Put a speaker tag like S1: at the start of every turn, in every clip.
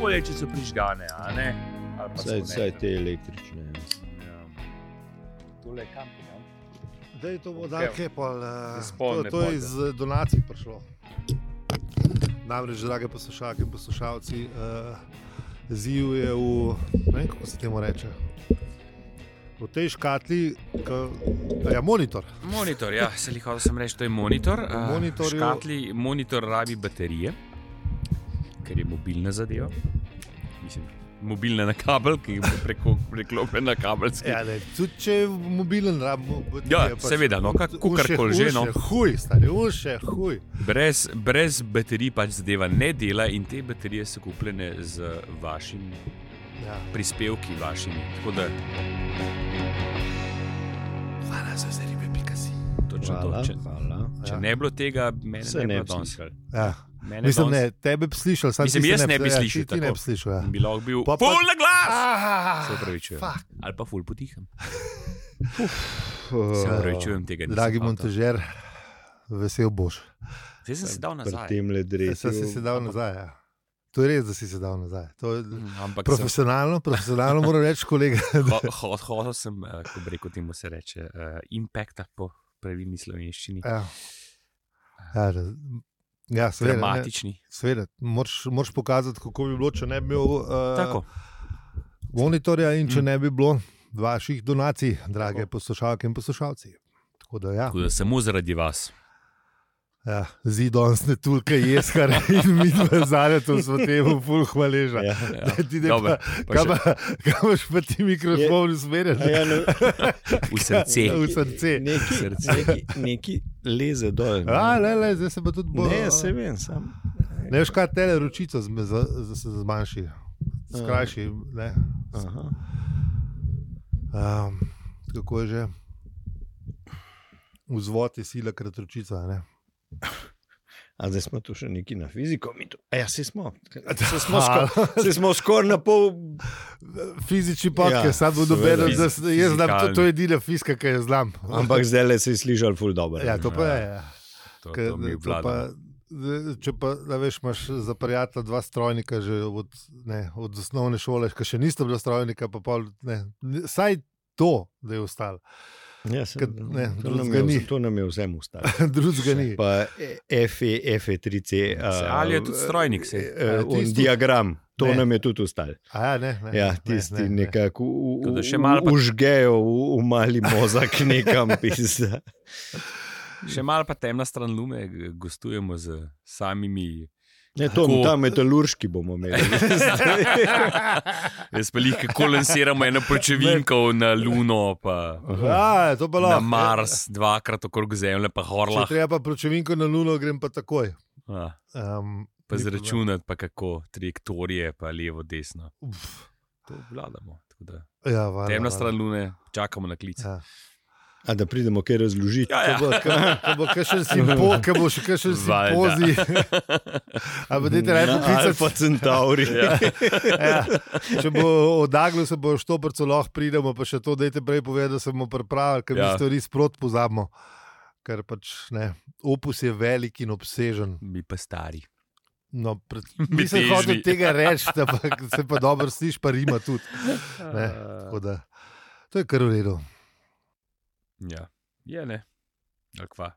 S1: bolje, če so prižgane, a ne? Ali pa so
S2: Saj,
S1: ne.
S2: saj te električne. ja.
S1: Ja. Tole je kampi, ne?
S3: Dej, to bo
S1: Evo,
S3: dal Hepal.
S1: za spol
S3: To,
S1: ne
S3: to je
S1: bojte.
S3: iz eh, donacij prišlo. Namreč, drage poslušalke in poslušalci, uh, ziv je v, ne vem kako se temu reče, v tej škatli, ki je monitor.
S4: Monitor, ja, se jih hočem reči, to je monitor.
S3: V
S4: A,
S3: monitorju-
S4: Škatli, monitor rabi baterije, ker je mobilna zadeva. Mislim, mobilna na kabel, ki je preko, preklopljen na kabelski.
S3: Ja, ne, tudi če je mobilen, rabimo.
S4: Ja,
S3: pač
S4: seveda, no, kak- kakorkoli že, no.
S3: Huj, stari, uše, huj.
S4: Brez, brez baterij pač zadeva ne dela in te baterije so kupljene z vašimi
S3: Ja.
S4: prispevki, vašimi. Tako da,
S3: Hvala za zaribe, pikasi.
S4: točno
S2: Hvala,
S4: to. Če,
S2: hvala.
S4: če
S3: Ja.
S4: ne bi bilo tega, mene
S2: Se
S4: ne bi
S2: ne
S4: bilo
S2: bi
S4: danes.
S2: slišali.
S3: Ja.
S4: Mene
S3: Mislim,
S4: danes
S3: ne, tebe bi slišal, sam
S4: Mislim,
S3: ti se
S4: jaz
S3: ne,
S4: ne bi
S3: ja, ti-
S4: slišal
S3: Ti ne
S4: tako.
S3: bi slišal. Ja.
S4: Bi lahko bil
S3: Pa- pa-
S4: pol na glas!
S3: Ah,
S4: Se upravičujem.
S3: fuck.
S4: Ali pa ful potihem.
S2: Uh,
S4: Se upravičujem tega. nisem
S3: Dragi
S4: hotel.
S3: montažer, vesel boš.
S4: Zdaj sem se dal
S2: Pri
S4: nazaj.
S2: tem le drevesu.
S3: Sam si se dal nazaj. Ja. To je res, da si se dal nazaj. To je
S4: Mm, Ampak sem-
S3: profesionalno, profesionalno moram reči, kolega.
S4: ho- ho- hotel sem, eh, ko bi rekel, temu se reče, eh, impacta po pravilni slovenščini.
S3: Ja, ja, raz- ja seveda. ne,
S4: Dramatični.
S3: Seveda, moraš, moraš pokazati, kako bi bilo, če ne bi imel uh,
S4: Tako. Mm.
S3: monitorja in če ne bi bilo vaših donacij, drage
S4: Tako.
S3: poslušalke in poslušalci. Tako da, ja.
S4: Tako da samo zaradi vas.
S3: ja Zidon ne tulka jeskar in mi dva zadnja, to smo temu ful hvaležni.
S2: Ja.
S4: Ja.
S3: Da ti ne
S4: Dobro, pa
S3: pa, kam
S4: še
S3: pa- kam boš pa ti mikrofon usmerjen?
S2: A Ja, ne,
S4: V srce.
S3: V srce.
S2: neki,
S4: Srce.
S2: neki, neki leze dol. ne.
S3: A, le, le, zdaj se pa tudi bolj.
S2: Ne, se vem, sam.
S3: Ne veš, kaj tele ročico zme- za- za- se zmanjši,
S2: Ja.
S3: skrajši. ne.
S2: Aha.
S3: Um, kako je že? Vzvod je sila, krat ročica. Ne?
S2: A zdaj smo tu še neki na fiziko. mi tu- A Ja, se smo. Se smo, sko, se smo skoraj na pol.
S3: Fizični podcast, ja,
S2: Ja,
S3: sam
S2: seveda.
S3: dober, da
S4: Fiz-
S3: se jaz znam, to, to
S4: fizikalni.
S3: je edina fiska, ki jo znam.
S2: Ampak zdaj le si slišal, ful dobro.
S3: ja, to pa je. Ja.
S4: To,
S3: Ker,
S4: to mi
S3: to
S4: obvlada.
S3: pa, da- če pa da veš, imaš eh, za prijatelja dva strojnika, že od, ne, od osnovne šole, ki še nista bila strojnika, pa pol, ne, ne, saj to, da je ostal,
S2: Ja, se,
S3: Kad- ne,
S2: to, nam
S3: drugega
S2: je,
S3: ni.
S2: to nam je vsem ustalo.
S3: drugega ni.
S2: Pa E, FE, FE3C.
S4: Se, ali je tudi strojnik, se.
S3: A, tisti tudi?
S2: e, Diagram, to
S3: Ne.
S2: ne. nam je tudi ustalo.
S3: A ja, ne, ne,
S2: Ja,
S3: ne,
S2: tisti ne,
S3: ne, ne.
S2: nekako u-
S4: Tako da
S2: u-
S4: še malo pa-
S2: užgejo v, v mali mozak nekam. pizda.
S4: Še malo pa temna stran lume, g- gostujemo z samimi.
S2: Ne, to
S4: Tako.
S2: je ta metalurški bomo imeli.
S4: Jaz pa jih kako lansiramo eno pločevinko na Luno, pa
S3: Ja, to pa
S4: na
S3: lahko.
S4: Mars, dvakrat okrog Zemlje, pa
S3: Če
S4: horlah.
S3: treba pa pločevinko na luno, grem pa takoj.
S4: Ah,
S3: Um,
S4: Pa
S3: ni
S4: zračunati, pa kako trajektorije, pa levo, desno.
S3: problema. Uf,
S4: To obvladamo. tako da.
S3: Ja, varno,
S4: Temna
S3: varno.
S4: stran Lune, čakamo na klic.
S3: Ja.
S2: A da pridemo kaj razložiti.
S4: Ja, ja.
S3: Ko bo- ko bo kakšen simpo, ko bo še kakšen
S4: Valjda. Ja,
S3: simpozij. Ampak dajte raje
S2: ali
S3: poklicati.
S2: pa centauri. ja.
S3: Ja, če bo odaglo, se bo što prco lahko pridemo, pa še to, da te prej povedal, da smo pripravili, ker ja.
S4: Ja.
S3: mi stvari sprot pozabimo. Ker pač ne, opus je velik in obsežen.
S4: Mi pa stari.
S3: No, pred,
S4: Mi
S3: nisem
S4: težni.
S3: hotel tega reči, da pa, se pa dobro slišiš, pa rima tudi. Ne, tako da, to je kar v redu.
S4: Ja, je ne. Ali kva.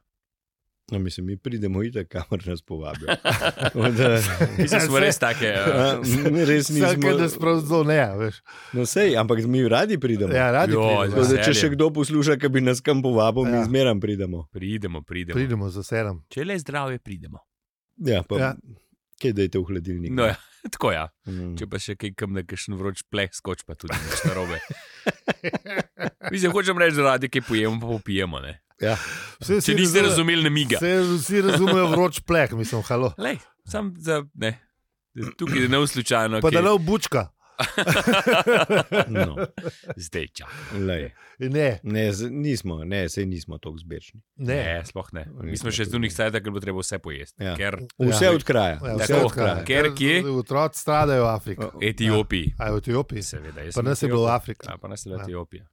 S2: No, mislim, mi pridemo itak, kamor nas povabijo. Tako da,
S4: Mi smo res Ja. take.
S2: a, m, Res nismo.
S3: Vsak, da spravzdo ne, a veš.
S2: No, sej, ampak mi radi pridemo.
S3: Ja, radi
S4: Jo,
S3: pridemo.
S2: Tako
S4: ja.
S2: da, če še
S4: veseljem.
S2: kdo posluša, ki bi nas kam povabil, ja.
S3: Ja.
S2: mi zmeraj pridemo.
S4: Pridemo, pridemo.
S3: Pridemo za sedem.
S4: Če le zdravje, pridemo.
S2: Ja, pa,
S3: Ja.
S2: ja. Kaj dajte v hladilnik?
S4: No, ja, tako ja.
S2: Mm.
S4: Če pa še kaj kam na kakšen vroč pleh skoč, pa tudi nič narobe. Mislim, hočem reči, da radi kaj pojemo, pa popijemo. Ne?
S2: Ja.
S3: Vse
S4: Če niste razumeli, ne miga.
S3: Se vsi razumejo vroč pleh, mislim, halo.
S4: Lej, sam za ne. Tukaj je ne v slučajno.
S3: Pa da
S4: kaj-
S3: ne obučka.
S2: No,
S4: Zdaj čakam.
S2: lej.
S3: Ne,
S2: ne, z- nismo, ne, sej nismo tako zbečni.
S3: ne.
S4: Ne, sploh ne. Mi smo še zunaj sajta, ker bo treba vse pojesti.
S2: Ja.
S4: Ker
S2: Vse
S3: Ja.
S2: od kraja.
S3: Ja,
S4: vse
S3: vse
S4: Tako,
S3: odkraja.
S4: ker kje?
S3: Otroci stradajo v Afriki.
S4: v Etiopiji.
S3: A je v Etiopiji?
S4: Seveda, jaz
S3: Ja. Pa
S4: sem
S3: nas je bilo v
S4: Etiopija.
S3: Afriki.
S4: Ja, pa nas je bila
S3: Ja.
S4: Etiopija.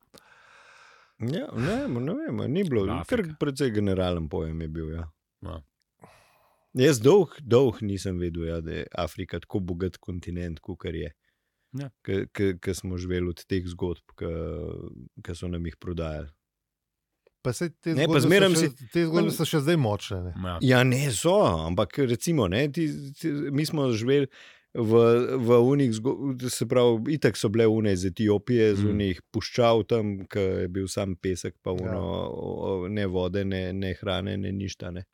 S2: Ja, ne, ne vem, ni bilo.
S4: Afrika. Ja.
S2: Kar precej generalen pojem je bil. Ja. Jaz dolg, dolg nisem vedel, ja, da je Afrika tako bogat kontinent, kot je.
S4: Ja.
S2: Ker smo živeli od teh zgodb, ki so nam jih prodajali.
S3: Pa se te
S2: Ne, pa
S3: zgodbe so
S2: zmeraj
S3: še- Te zgodbe
S2: pa-
S3: so še zdaj močne. Ne?
S4: Ja.
S2: Ja, ne so, ampak recimo, ne, ti, ti, mi smo živeli v, v unih, zgo- se pravi, itek so bile une iz Etiopije, z
S4: Mm.
S2: unih puščav tam, ki je bil sam pesek, pa uno,
S3: Ja.
S2: o- o, ne vode, ne, ne hrane, ne ništa. Ne.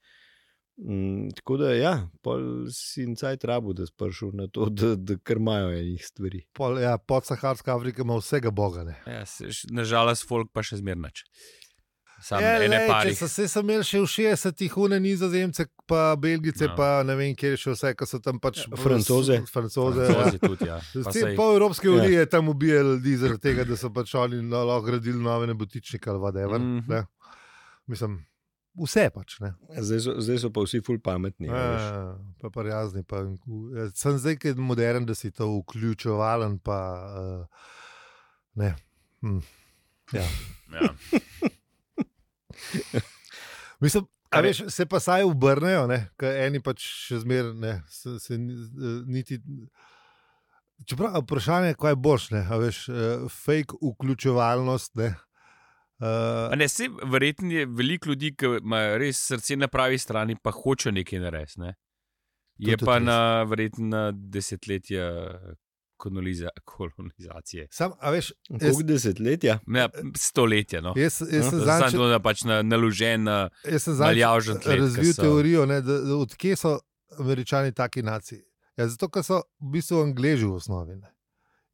S2: Mm, tako da, ja, pol si incaj trabu, da sprašujem na to, da, da krmajo enih stvari.
S3: Pol, ja, podsaharska Afrika ima vsega boga. Ne?
S4: Ja, se- š- Nažalost, folk pa še zmernač. Sam
S3: Ja,
S4: ene
S3: lej,
S4: pari.
S3: Če so se imeli še v 60-ih, une nizozemce, pa belgice,
S4: Ja.
S3: no. pa ne vem, kje je še vse, ki so tam pač.
S2: Ja, Francoze.
S3: Francoze. ja.
S4: Francozi tudi, ja. Pa
S3: Te
S4: saj-
S3: pol Evropske
S2: Ja.
S3: unije je tam ubijali ljudi zaradi tega, da so pač oni no- lahko gradili nove nebotičnike ali whatever. Mm
S4: Mhm.
S3: -hmm. Mislim, vse pač. Ne?
S2: Zdaj so, zdaj so pa vsi ful pametni. a veš.
S3: Ja, pa pa razni. Pa, ja, sem zdaj, ki je modern, da si to vključevalen. Pa, uh, ne. Hm. Ja.
S4: Ja.
S3: Mislim,
S4: A
S3: a
S4: ne-
S3: veš, se pa saj obrnejo, ker eni pač še zmeraj se, se ni- eh, niti. Čeprav a vprašanje je, kaj boš, ne, a veš, eh, fake vključevalnost. Ne,
S4: A
S3: uh,
S4: Ne, se, verjetno je veliko ljudi, ki imajo res srce na pravi strani, pa hoče nekaj narediti. Ne?
S3: To
S4: Je
S3: tudi
S4: pa
S3: res.
S4: na verjetno na desetletja koloniza, kolonizacije.
S3: sam, a veš, jaz,
S2: Koliko desetletja?
S4: Ne, stoletja. No.
S3: jaz, Eh, jaz sem
S4: Zanj
S3: zanj,
S4: to, da pač na, naložen, na-
S3: jaz sem zanj
S4: naljavžen tlet,
S3: razvil
S4: ke so-
S3: teorijo, ne, da, da odkje so američani taki naciji. Ja, zato, ker so v bistvu angliži v osnovi. Ne.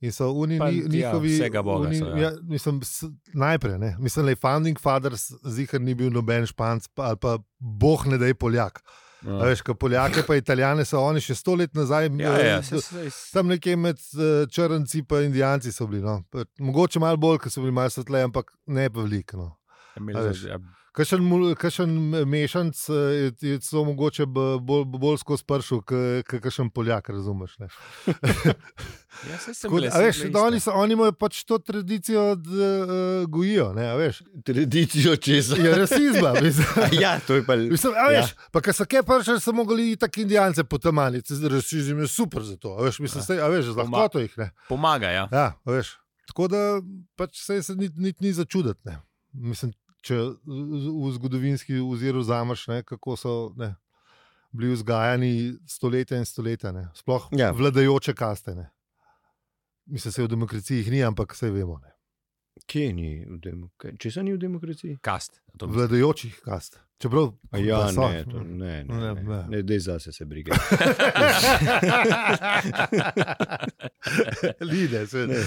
S3: In so oni
S4: Pa,
S3: ni,
S4: ja,
S3: njihovi.
S4: vsega boga
S3: oni,
S4: so, ja.
S3: mislim, s, najprej, ne. mislim, da je Founding Fathers zihar ni bil noben španc pa- ali pa boh ne da je Poljak. A
S4: Ja,
S3: Veš, kot Poljake, pa Italijane so oni še sto let nazaj.
S4: ja,
S3: eh,
S4: ja, se, se, se,
S3: Tam nekje med eh, črnci in indijanci so bili. No. Pa Mogoče malo bolj, ker so bili malo svetlejši, ampak ne pa veliko. No. a veš.
S4: ja,
S3: Kakšen, mul- kakšen mešanc eh, je- je celo mogoče b- bolj, bolj skozi pršil, kot kakšen Poljak, razumeš? ne.
S4: ja, se, se,
S3: Tako da, a veš, da oni, so, oni imajo pač to tradicijo, da uh, gojijo, ne, a veš.
S2: Tradicijo česa.
S3: Je rasizma, mislim.
S2: Ja, to je pa.
S3: Mislim, a veš, ja. pa ker so kaj pršili, so mogli tako indijance potamaliti, zdaj rasizem je super za to, a veš, mislim,
S4: Ja.
S3: saj, a veš, z
S4: Poma-
S3: lahkoto jih ne.
S4: Pomaga, ja.
S3: Ja, a veš. Tako da pač saj se ni, ni, ni začuditi, ne. Mislim, če v v zgodovinski ozir vzameš, ne, kako so ne, bili vzgajani stoletja in stoletja, ne. sploh
S2: Ja.
S3: ja. vladajoče kaste. Ne. Mislim, se v demokraciji jih ni, ampak vse vemo. Ne.
S2: Kje ni v demokraciji? Če se ni v demokraciji?
S4: Kast. To bi-
S3: Vladajočih kast. Čeprav
S2: A Ja,
S3: da so.
S2: ne, to, ne, ne,
S3: Ne,
S2: ne,
S3: ne.
S2: ne, dej zase se brige.
S3: Lide, seveda.
S2: Ne.
S3: Ne,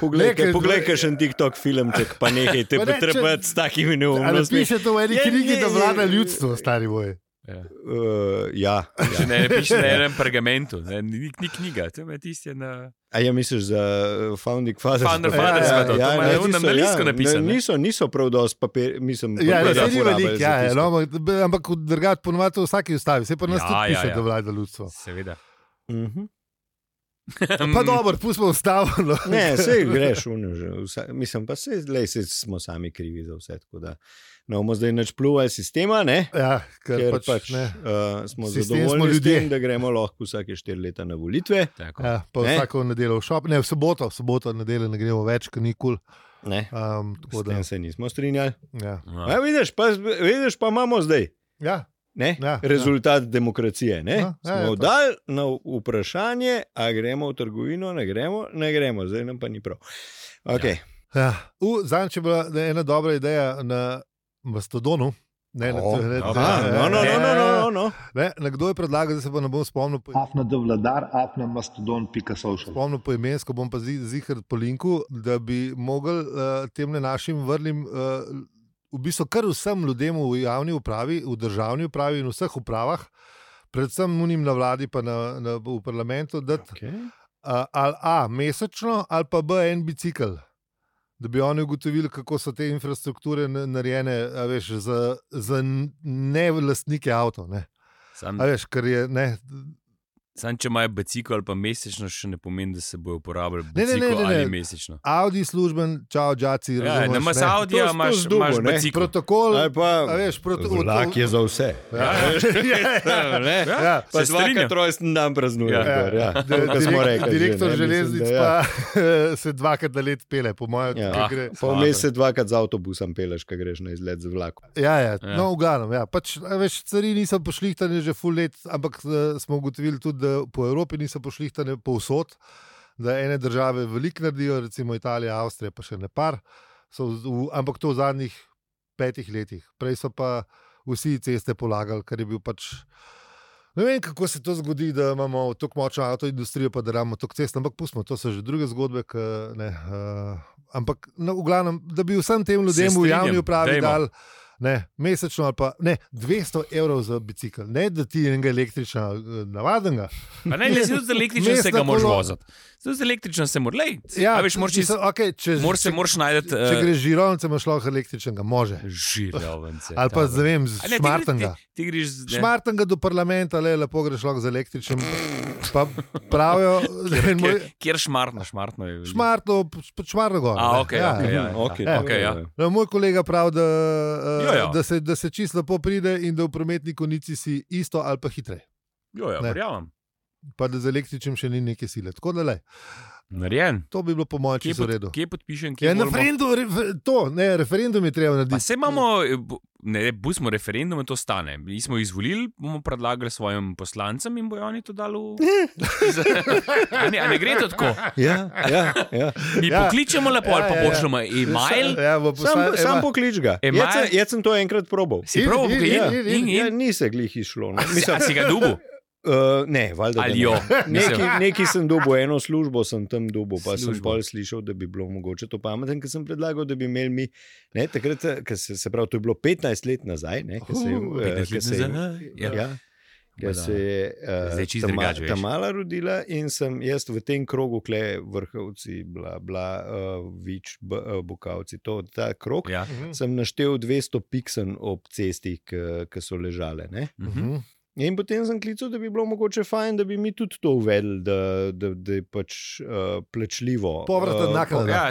S2: Poglej,
S3: ker-
S2: poglej, kaj še en TikTok filmček, pa nekaj te
S3: Pa ne, če-
S2: potrebuje s takimi
S3: Ali
S2: neumnostmi.
S3: piše to v eni
S2: Ja,
S3: knjigi,
S2: ne,
S3: da vlada
S2: ne, ne.
S3: ljudstvo, stari boj?
S4: Ja.
S2: Uh, ja.
S4: Če ne, ne piše na enem pergamentu, ne, ni, ni knjiga, to je tisti na.
S2: A ja misliš za eh, Founding Fathers?
S4: Founder
S2: Ja,
S3: Fathers,
S2: ja,
S3: pa to, to
S2: ja,
S4: imajo
S2: ne,
S4: oni na
S2: niso,
S4: listu
S2: ja,
S4: napisano,
S2: ne,
S4: ne?
S2: Niso, niso prav dosti papir, mislim,
S3: Ja,
S2: papirja
S3: ne, se ni
S2: porabili
S3: veliko,
S2: za
S3: ja, ja,
S2: tisto.
S3: no, ampak- b- ampak drugače ponovadi v vsaki ustavi, se pa nas
S4: Ja,
S3: ja, tudi
S4: ja,
S3: piše, ja,
S4: ja.
S3: ja. da vlada ljudstvo.
S4: Seveda.
S2: Mhm.
S4: Mm,
S3: Pa
S2: Mm.
S3: dobro, pustimo ustavo. No.
S2: Ne, vse greš, unijo. Mislim pa, se, lej, se smo sami krivi za vse. tako Da, no, bomo zdaj nič pluvali sistema, ne?
S3: Ja, ker,
S2: Ker
S3: pač, pač, ne.
S2: uh, smo
S3: Sistem smo
S2: zadovoljni smo s
S3: ljudje.
S2: tem, da gremo lahko vsake štiri leta na volitve.
S4: Tako.
S3: Ja, pa
S2: Ne.
S3: ne. vsako nedeljo v šop, ne v soboto, v soboto nedeljo ne gremo več, ker ni kul.
S2: Ne,
S3: Um,
S2: s tem se nismo strinjali.
S3: ja.
S2: A, vidiš, pa, vidiš, pa imamo zdaj
S3: Ja,
S2: ne?
S3: Ja, ja.
S2: rezultat demokracije. Ne?
S3: Ja, ja,
S2: Smo
S3: ja,
S2: dali na vprašanje, a gremo v trgovino, ne gremo, ne gremo, zdaj nam pa ni prav. Okay.
S3: ja. U, Zanj je bila ne, ena dobra ideja na Mastodonu. Ne, na,
S2: O,
S3: ne,
S2: aha, no, no,
S3: ja,
S2: no, no, no, no, no.
S3: Ne, nekdo je predlagal, da se pa ne bom spomnil po,
S5: afna dovladar, afna mastodon.social.
S3: spomnil po imensko, bom pa zihar po linku, da bi mogel uh, tem našim vrlim, uh, v bistvu kar vsem ljudem v javni upravi, v državni upravi in vseh upravah, predvsem unim na vladi, pa na, na, v parlamentu, da okay.
S2: Okay.
S3: ali A, mesečno, ali pa B, en bicikl. Da bi oni ugotovili, kako so te infrastrukture na- narejene, a veš, za, za ne lastnike avto. Ne?
S4: Sam,
S3: A veš, ker je ne,
S4: Sam, če imajo biciklo ali pa mesečno, še ne pomeni, da se bojo uporabljali
S3: ne,
S4: biciklo
S3: ne, ne, ne.
S4: ali mesečno.
S3: Audi služben, čau, džaci,
S4: Ja, ne imaš
S2: To
S4: Audija,
S2: s- to
S4: imaš,
S2: z dubo,
S4: imaš
S2: ne?
S4: biciklo.
S3: Protokol,
S2: Ali pa-
S3: a veš, Ja, protokol.
S2: Vlak je za vse.
S4: Ne,
S3: Ja,
S4: Se
S2: Pa
S4: strinjam.
S2: dvakrat rojsten dan praznuje.
S4: Ja.
S2: gor, ja. To, kar smo
S3: Direkt,
S2: rekli že,
S3: direktor
S2: ne, mislim,
S3: železnic
S2: da ja.
S3: pa se dvakrat na let pele, po mojem,
S2: Ja.
S3: ja. gre.
S2: Pa vmes se dvakrat z avtobusom peleš, ko greš na izlet z vlakom.
S3: Ja, ja, ja. No, v glavnem. Ja. Pač, a veš, cari niso pošlihtane že full let, ampak eh, smo ugotovili tudi, da po Evropi niso pošlihtane povsod. Da ene države veliko naredijo, recimo Italija, Avstrija, pa še ne par, so, v- v, ampak to v zadnjih petih letih. Prej so pa vsi ceste polagali, ker je bil pač. Ne vem, kako se to zgodi, da imamo tako močno avtoindustrijo, pa da imamo tako cest, ampak pustimo, to so že druge zgodbe. K, ne, uh, ampak, no, v glavnem, da bi vsem tem ljudem v
S4: strinjam,
S3: javni upravi
S4: dajmo.
S3: dal ne, mesečno ali pa ne, 200 evrov za bicikl, ne da ti enega električnega, eh, navadnega.
S4: Pa ne, ne, z električnim se ga
S3: Mestna
S4: moraš
S3: kolo-
S4: voziti. Z električnim se moraš, lej.
S3: Ja,
S4: Ja, veš, moraš iz-
S3: mislim, okay, če,
S4: moraš se
S3: če,
S4: moraš najti eh,
S3: če greš žirovnice, imaš lahko električnega, može.
S4: žirovence.
S3: Ali pa, ne vem,
S4: A
S3: z
S4: ne, ti
S3: šmartnega.
S4: greš- Ti, ti greš z ne,
S3: Šmartnega do parlamenta, le lepo greš lahko z električnim. Pa pravijo, da je moj.
S4: kjer, kjer šmartno, šmartno je.
S3: Šmartno, pač šmarno gor.
S4: A,
S3: ne.
S4: ok, ja, ok, ja, ja.
S2: Okej,
S3: Ja.
S2: to
S4: Okej,
S2: je-
S4: ja.
S3: No, moj kolega pravi, da, eh,
S4: Ja, ja.
S3: da se, da se čisto lepo pride in da v prometni konici si isto ali pa hitreje.
S4: Jo, ja,
S3: Ne.
S4: verjamem.
S3: Pa da z električnim še ni neke sile. Tako da le.
S4: Narejen.
S3: To bi bilo po mojem
S4: Kje,
S3: čisto v redu.
S4: pod, kje podpišem? Kje
S3: Ja, na
S4: moramo-
S3: referendum, refer, to, ne, referendum je treba
S4: Pa
S3: narediti.
S4: se imamo, eh, bo- ne, pustimo referendum, in to stane. Mi smo izvolili, bomo predlagali svojim poslancem in bojo oni to dali v. a, ne, a ne gre to tako?
S2: Ja, ja, ja.
S4: Mi
S3: Ja.
S4: ja. pokličemo lepo, ali pa
S3: Ja, ja, ja.
S4: pošljemo e-mail.
S3: Ja, bo
S2: Sam,
S3: posla-
S2: sam
S3: ema-
S2: poklič ga.
S4: Ema-
S2: Jaz sem- Jaz sem to enkrat probal.
S4: Si
S3: In,
S4: prav,
S3: in,
S4: in,
S2: ja.
S4: in, in,
S2: Ja,
S4: in.
S2: ni se glih izšlo. no.
S4: Si, a si ga dubu?
S2: Uh, ne, valjda. da
S4: Ali
S2: ne.
S4: jo?
S2: Neki,
S4: Mislim.
S2: neki sem dobil, eno službo sem tam dobil, pa službo. sem
S4: Službo.
S2: bolj slišal, da bi bilo mogoče to pameten, ker sem predlagal, da bi imeli mi. Ne, takrat, eh, ke se, se pravi, to je bilo 15 let nazaj. Ne, ke se, je, eh,
S3: Uh,
S4: 15
S2: ke
S4: let
S2: se je-
S4: nazaj, ja.
S2: ja, ke
S4: Bada.
S2: se je
S4: Zdaj čisto
S2: tam,
S4: drugače, veš.
S2: tam mala rodila in sem jaz v tem krogu, kle vrhovci, bila, bila uh, vič, b, uh, bokavci, to, ta krog.
S4: Ja.
S3: Mhm.
S2: Sem naštel 200 piksen ob cesti, ki so ležale. Ne?
S4: Mhm.
S3: Mhm.
S2: In potem sem klical, da bi bilo mogoče fajn, da bi mi tudi to uvedli, da, da, da je pač uh, plačljivo.
S3: Povratna
S2: eh,
S3: naknada.
S4: ja,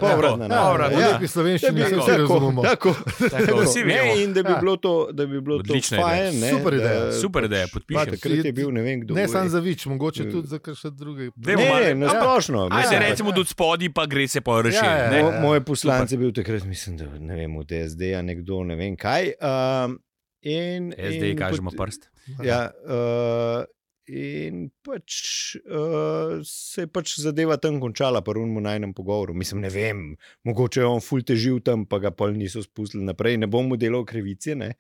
S4: tako,
S2: povratna naknada,
S4: povratna,
S2: ja.
S3: Ja, v slovenščini
S2: Da
S3: se
S2: bi-
S3: vsi razumemo.
S2: Tako, Ja,
S4: Tako,
S2: tako.
S4: vsi vemo.
S2: Ne, in da bi
S3: Ja.
S2: bilo to, da bi bilo to
S4: Odlična
S2: fajn. Ne,
S3: Super ideja,
S2: da pač
S4: Super, da je
S2: Pa,
S4: podpišem.
S2: takrat je bil ne vem kdo.
S3: Ne
S2: je-
S3: samo za vič,
S4: Eh.
S3: mogoče tudi za kakšne druge.
S4: Dajmo
S2: Ne,
S4: malo-
S2: ne, na splošno.
S4: Aj se
S2: mislim,
S3: ja.
S4: recimo do spodaj, pa gre se pa rešiti.
S3: Ja, ja,
S4: ne.
S3: ja.
S2: Mo, moj poslanec je bil takrat, mislim, da ne vem, od SD-ja, nekdo ne vem kaj. Um, in,
S4: SD
S2: in
S4: kažemo
S2: pot-
S4: prst.
S2: Ja, uh, in pač uh, se je pač zadeva tam končala, pa rumo najnem pogovoru. Mislim, ne vem, mogoče je on ful težil tam, pa ga pol niso spustili naprej, ne bom mu delal krivice. Ne?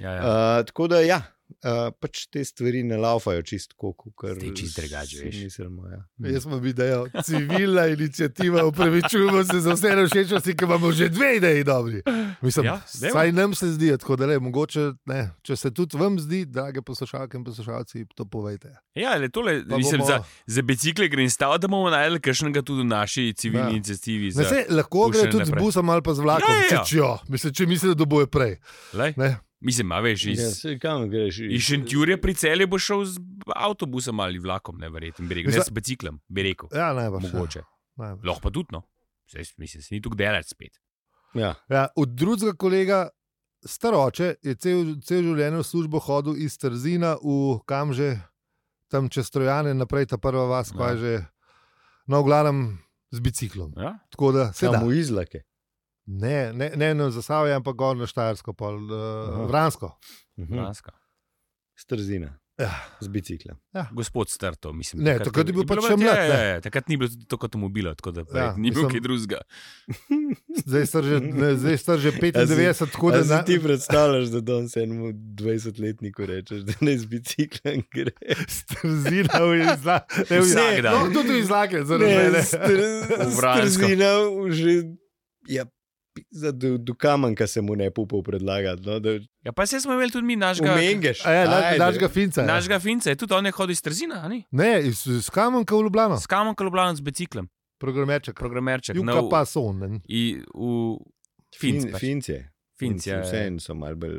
S4: Ja, ja.
S2: Uh, tako da ja. Uh, pač te stvari ne laufajo čisto, kot
S4: Zdaj čisto drugače, veš.
S2: Mislimo, ja.
S3: Jaz smo bili, da je civilna inicijativa, upravičujemo se za vse rešečnosti, ki imamo že dve ideji dobri. Mislim, ja,
S4: Ja, dajmo.
S3: saj nam se zdi, tako da le, mogoče, ne, če se tudi vam zdi, drage poslušalke in poslušalci, to povejte.
S4: Ja, le tole,
S3: Pa
S4: mislim,
S3: bomo-
S4: za, za bicikle gre in stav, da bomo najdel kakšnega tudi v naši
S3: Ja.
S4: civilni inicijativi.
S3: Ne,
S4: Za,
S3: se, lahko gre
S4: puščanje
S3: tudi z
S4: naprej.
S3: busom ali pa z vlakom,
S4: Ja, ja,
S3: ja,
S4: ja.
S3: ja. Če, mislim, če mislijo, da bojo prej.
S4: Glej,
S3: Ne.
S4: mislim, a veš, iz,
S2: ja, saj kam greš?
S4: iz Šentjurja pri celju boš šel z avtobusom ali vlakom, ne verjetno, bi rekel. Ne
S3: Mislim-
S4: s biciklom, bi rekel.
S3: Ja, najbrž. ja,
S4: Mogoče.
S3: najbrž.
S4: Lahko pa tudi, no. Saj, mislim, se ni tu delati spet.
S2: Ja.
S3: Ja, od drugega kolega, staroče, je cel, cel življenje v službo hodil iz Trzina v Kamže, tam čez Trojane, naprej ta prva vas,
S4: Ja.
S3: kaj ja. že, no, v glavnem z biciklom.
S4: Ja?
S3: Tako da se da.
S2: Samo izlake.
S3: Ne, ne, ne, ne za Savje, ampak gor na Štajersko, pol,
S2: Aha.
S3: uh, Vransko.
S2: Mhm.
S4: Lanska.
S2: Strzina.
S3: Ja.
S2: Z bicikla.
S4: Gospod Strto, mislim.
S3: Ne, takrat je bil
S4: ni
S3: pač
S4: bilo
S3: še
S4: več-
S3: mlad,
S4: ja,
S3: ne.
S4: ja, ja, Takrat ni bilo toliko avtomobila, tako da
S3: Ja,
S4: ja, ni bilo
S3: mislim-
S4: kaj drugega.
S3: Zdaj star že, ne, zdaj star že
S2: A si-
S3: 95, tako da
S2: Kaj si
S3: na,
S2: ja, ti predstavljaš, da danes enemu 20-letniku rečeš, da ne z biciklom gre?
S3: Trzina v izlake.
S4: Vsak dan.
S3: No, tudi v izlake, zaradi
S2: Ne,
S3: mene.
S4: V
S2: str-
S4: Vransko.
S2: Strzina v že. Ja, pizda, do, do kamenka se mu ne upal predlagati. No, da,
S4: Ja, pa se smo imeli tudi mi našega.
S2: umengeš.
S3: A Ja,
S2: Ajde.
S3: našega finca. ja.
S4: Našega finca je tudi on je hodil iz Trzina, a ni?
S3: Ne, iz, iz Kamenka v Ljubljano,
S4: S kamom kaloblanom z biciklom,
S3: programerček.
S4: programerček.
S3: Juka
S4: nov-
S3: pa so, ne.
S4: I, v
S2: Fin,
S4: Finc. Fin,
S2: finc je.
S4: Finc je.
S2: Vseeno so malo bolj.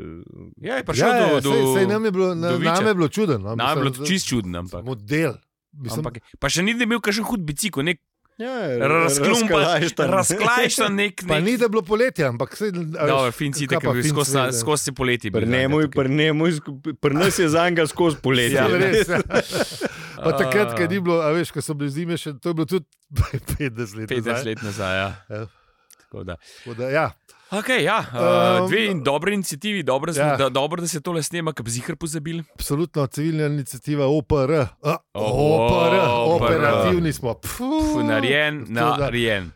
S4: Ja, je prišel do, do
S3: sej, sej nam je bilo,
S4: do
S3: na,
S4: Viča.
S3: nam je bilo čudno. No,
S4: Nam je
S3: mislim,
S4: bilo to
S3: da-
S4: čisto čudno, ampak
S3: Model. Mislim,
S4: Ampak, pa še ni da je bil kakšen hud bicikl, nek
S2: Ja,
S4: razklumpan,
S2: razklajštan.
S4: razklajšan nek.
S3: pa
S4: nek
S3: ni, da je bilo poletje, ampak se je
S4: Dobro, Finci, tako je skozi, na- skozi poleti. bil
S2: Pri
S4: zadnja
S2: njemu,
S4: tukaj.
S2: pri njemu, sku- pri nas je za njega skozi poletje.
S4: Ja,
S2: ne.
S3: res. ja. Pa
S4: A.
S3: takrat, ko ni bilo, a veš, ko so bile zime, še, to je bilo tudi 50 let.
S4: 15 let nazaj. Ja.
S3: Ja.
S4: Tako Da.
S3: Da, ja.
S4: Okay, ja, uh,
S3: Um,
S4: dve in dobre inicijativi, dobro, ja.
S3: ja.
S4: da, dobro, da se tole snema, ki bi zihar pozabil.
S3: Absolutno civilna inicijativa OPR, A,
S4: Oh,
S3: OPR,
S4: OPR.
S3: operativni smo. Pfu,
S4: Fu, Narejen,
S3: to da.
S4: narejen.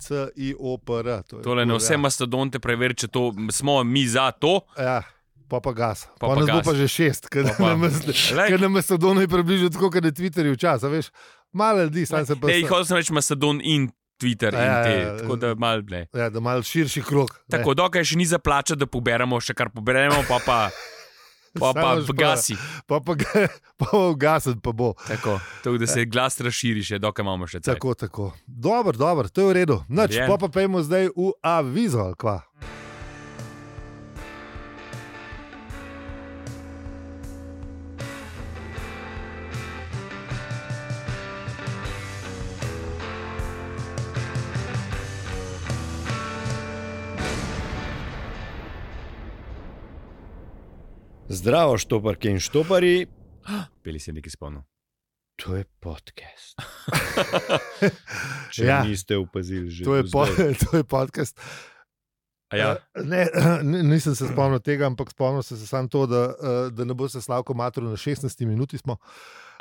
S3: CIOPR. To je
S4: Tole na
S3: kul,
S4: vse
S3: ja.
S4: mastodonte preveri, če to, smo mi za to.
S3: Ja, pa pa gas. Pa,
S4: pa
S3: pa nas bo
S4: gas.
S3: pa že šest, ker
S4: pa- Lej.
S3: nam je Sedona približno tako, kot je Twitterju včasih. a Veš, malo ljudi, sam se pa.
S4: Ne, jih hočem reči mastodon in Twitter
S3: Ja, ja,
S4: in te,
S3: ja.
S4: tako da mal ne.
S3: Ja, da malo širši krok. ne.
S4: Tako, dokaj še ni za plača, da poberemo še kar poberemo, pa pa, pa, pa
S3: Samo
S4: v
S3: špara.
S4: gasi.
S3: Pa pa ga- pa bo ugasen, pa bo.
S4: Tako, tako, da se glas razširi še, dokaj imamo še cajt.
S3: Ja. Tako, tako. Dobro, dobro, to je v redu. Nač,
S4: Narejen.
S3: pa pa pojmo zdaj v avizo. ali kva.
S2: Zdravo, štoparke in štopari,
S4: Peli se nekaj spomnim.
S2: to je podcast. Če ja.
S3: Ja.
S2: niste opazili, že
S3: To je,
S2: do
S3: po,
S2: zdaj.
S3: to je podcast. Eh,
S4: Ja,
S3: Ne, ne, nisem se spomnil tega, ampak spomnil sem se samo to, da, eh, da ne bo se slavko matro na 16 minuti. Smo.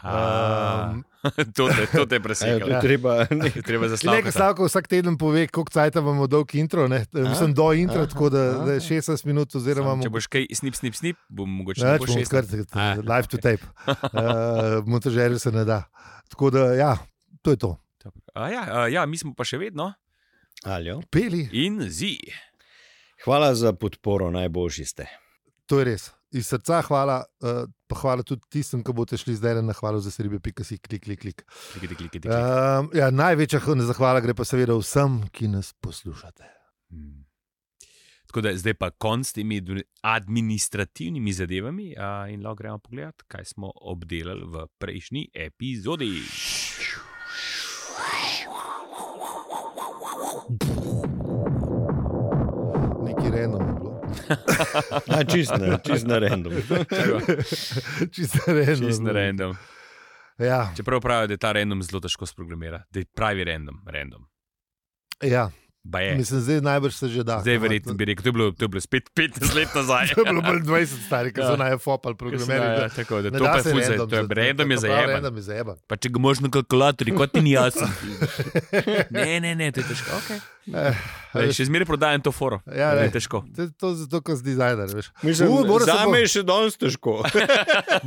S4: A,
S3: Ehm,
S4: to, te, to te je
S2: A ja, to
S4: presekalo.
S2: je treba. Ne,
S4: Je Treba
S3: Ne, ker
S4: zaslaviti.
S3: Slavko vsak teden pove, koliko cajt imamo dolg intro, ne? mislim do intro,
S2: aha,
S3: aha, tako da,
S2: aha.
S3: da je 16 minut oziroma
S4: Samo,
S3: imamo...
S4: Če boš kaj snip, snip, snip, bom mogoče
S3: Več
S4: bo
S3: bomo
S4: šest.
S3: kar
S4: A,
S3: eh, live to tape. Uh, Montažerju se ne da. Tako da, ja, to je to.
S4: A ja, a ja, mi smo pa še vedno
S2: Aljo.
S3: Peli,
S4: in zi.
S2: Hvala za podporo, najboljši ste.
S3: to je res. Iz srca hvala, uh, pa hvala tudi tistim, ki boste šli zdaj na hvalo za sribe, pika si klik, klik, klik.
S4: Klikaj, klikaj, klikaj.
S3: Um, ja, največja h- zahvala gre pa seveda vsem, ki nas poslušate.
S4: Hmm. Tako da zdaj pa konc s temi admi- administrativnimi zadevami a, in lahko gremo pogledat, kaj smo obdelali v prejšnji epizodi.
S3: Nekaj random je bilo.
S2: A, čist na, čist na random.
S3: Čisto random.
S4: Čisto random.
S3: Ja,
S4: Čeprav pravijo, da je ta random zelo težko sprogramirati, da je pravi random. random.
S3: ja.
S4: Ba je.
S3: Mislim, zdaj najbrž se že da.
S4: E. Zdaj verjetno bi rekel, to je bilo, to je bilo spet 15 let nazaj.
S3: To je bilo bolj 20 starih, ki
S4: Ja.
S3: so naj fopal
S4: Ker so, ja,
S3: programerji.
S4: tako, da
S3: Ne
S4: to
S3: da
S4: pa je
S3: se
S4: fuze,
S3: random
S4: to je
S3: za-
S4: random je
S3: to prav
S4: zajeban.
S3: Random je zajeban.
S4: Pa če ga imaš na kalkulatorju, kot ti ni jasno. Ne, ne, ne, to je težko. Okay.
S3: Eh,
S4: Lej,
S3: veš,
S4: še zmeraj prodajam to foro.
S3: Ja,
S4: to je
S3: lej.
S4: težko.
S3: To je to zato, ker si dizajner. veš.
S2: Mislim,
S3: U, moram se
S2: za
S3: po-
S2: me je še danes težko.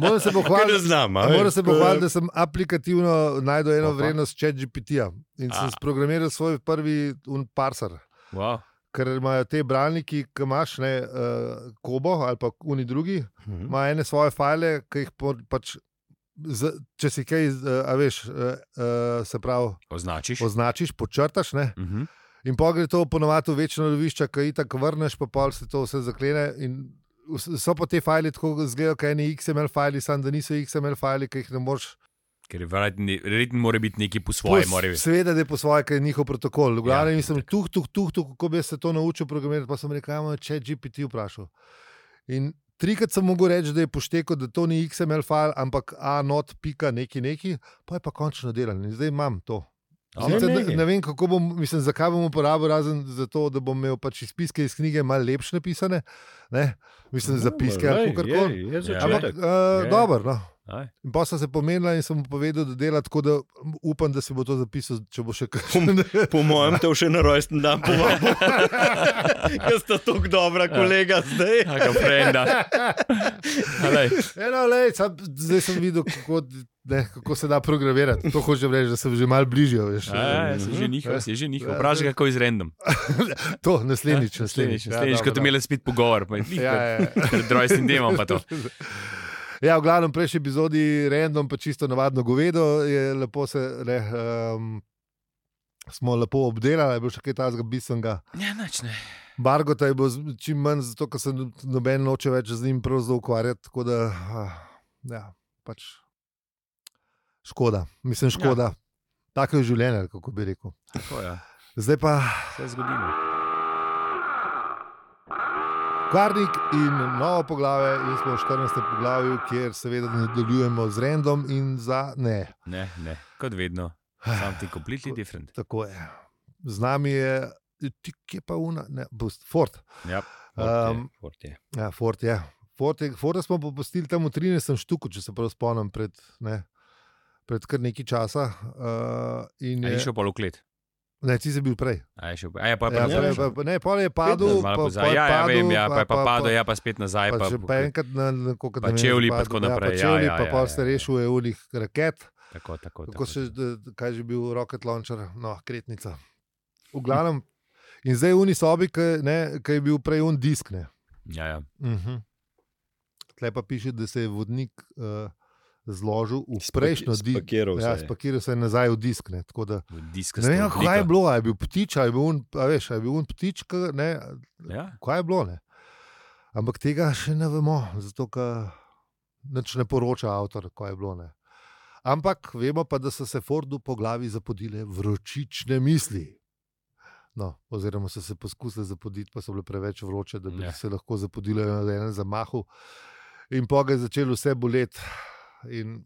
S3: Moram se
S2: Kaj ne
S3: pohvaliti.
S2: znam. a
S3: Moram
S2: veš,
S3: se
S2: to je-
S3: pohvaliti, da sem aplikativno najdel eno
S4: Opa.
S3: vrednost čet GPT-ja in
S4: A.
S3: sem sprogramiral svoj prvi unparser.
S4: Wow.
S3: Ker imajo te braniki, ki imaš, ne, uh, kobo ali pa uni drugi,
S2: Mhm.
S3: ima ene svoje file, ki jih po- pač, z, če si kaj, uh, a veš, uh, uh, se pravi,
S4: Označiš. Oz...
S3: označiš, počrtaš, ne,
S4: Uh -huh.
S3: In pa gre to ponovadi v večno lovišče, ki ti tako vrneš, pa pol se to vse zaklene. in vs- So pa te file tako zgledajo, kaj ni XML file, samo da niso XML file, ki jih ne moreš.
S4: Ker je verjetno- verjetno mora biti neki po svoje.
S3: Pos-
S4: mora biti.
S3: Seveda, da je po svoje, ker je njihov protokol. V
S4: Ja,
S3: glavnem ja, sem tu, tu, tu, tu, kako bi jaz se to naučil programirati, pa sem rekel, "Ja, ajmo, če GPT vprašal. In trikrat sem mogel reči, da je pošteko, da to ni XML file, ampak a not, pika, neki, neki, pa je pa končno delal. In zdaj imam to.
S2: Ne,
S4: Dobro.
S3: Sicer,
S2: ne,
S3: ne,
S2: ne.
S3: ne vem, kako bom, mislim, zakaj bom uporabil, razen zato, da bom imel pač izpiske iz knjige malo lepše napisane, ne? mislim, zapiske
S2: Lej,
S3: ali kako koli.
S2: No, je, je
S4: Ja.
S3: Ampak,
S2: začetek.
S3: uh,
S2: Je.
S3: dobro. No.
S4: Aj.
S3: In pa sem se pomenila in sem mu povedal, da dela tako, da upam, da si bo to zapisal, če bo še kakšen.
S2: Po mojem, te bo še na rojsten dan povabim. Jaz sta tako dobra, kolega, zdaj.
S4: Taka frenda. A lej,
S3: Eno, lej, sam, zdaj sem videl, kako, ne, kako se da programirati. To hočem reči, da sem že malo bližje. veš.
S4: a, ja, si že njihov, si že njihov. Vprašaj ga, kako je z random.
S3: To, naslednjič,
S4: Naslednjič,
S3: naslednjič. Ja,
S4: naslednjič, ko
S3: dobro,
S4: bomo imeli spet pogovor. pa je glih,
S3: Ja, ja, ja.
S4: Pred rojstnim dnevom pa to.
S3: Ja, v glavnem, prejšnji epizodi, random, pa čisto navadno govedo, je lepo se. Ne, um, smo lepo obdelali, je bilo še kaj tajnega, bistvenega.
S4: Ja, nič ne.
S3: Bargota je bilo z- čim manj, zato ker se no- noben noče več z njim pravzaprav ukvarjati. Tako da, ah, ja, pač. Škoda, mislim, škoda. Ja. Tako je življenje, ali kako bi rekel.
S4: Tako ja. je,
S3: Zdaj pa
S4: vse je zgodilo.
S3: Karnik in novo poglavje, in smo v 14. poglavju, kjer seveda nadaljujemo z rendom in za ne.
S4: Ne, ne, kot vedno. Something completely different.
S3: Tako je. Z nami je, ti je pa una, ne, bost, Ford.
S4: Ja,
S3: Um,
S2: Forte.
S3: ja, Ford je. Ford je. Forda smo popustili tam v 13. štuku, če se prav spomnim, pred, ne, pred kar nekaj časa. Uh, in
S4: Ali je
S3: je,
S4: šel pa v klet?
S3: ne, ti si bil prej.
S4: A je šel pa, a je pa, pa,
S3: Ja,
S4: nazaj
S3: prej
S4: šel.
S3: pa, pa, ne, pol je padel,
S4: Malo
S3: pa-
S4: pozaj.
S3: pol je
S4: Ja, ja,
S3: padel,
S4: vem, ja, pa je pa padel, ja, pa spet
S3: Pa,
S4: nazaj.
S3: pa, pa, pa enkrat na neko
S4: pa čevlji pa tako naprej, ja,
S3: Ja, čevlji,
S4: ja,
S3: pa
S4: ja,
S3: pol
S4: ja,
S3: ste
S4: ja.
S3: rešili evnih raket,
S4: Tako, tako,
S3: kako
S4: tako,
S3: se
S4: tako.
S3: d- d- kaj že bil rocket launcher, no, kretnica. V glavnem. In zdaj v unisobi, ki ne, ki je bil prej un disk. Ne.
S4: Ja, ja.
S3: Mhm. Tle pa piše, da se je vodnik uh, zložil v
S2: Spaki-
S3: prejšnjo disk.
S2: spakiral se
S3: Ja,
S2: je.
S3: spakiral se je nazaj v disk. Ne, tako da,
S4: Diska
S3: ne vem, kaj je bilo, ali je bil ptič, ali je bil un, a veš, ali je bil un ptič, ki, ne,
S4: Ja,
S3: kaj je bilo. Ne. Ampak tega še ne vemo, zato ker nič ne poroča avtor, kaj je bilo. Ne. Ampak vemo pa, da so se Fordu po glavi zapodile vročične misli. No, oziroma so se poskusili zapoditi, pa so bile preveč vroče, da bi
S4: Ja.
S3: ja. se lahko zapodile na enem zamahu. In pa ga je začelo vse boleti. In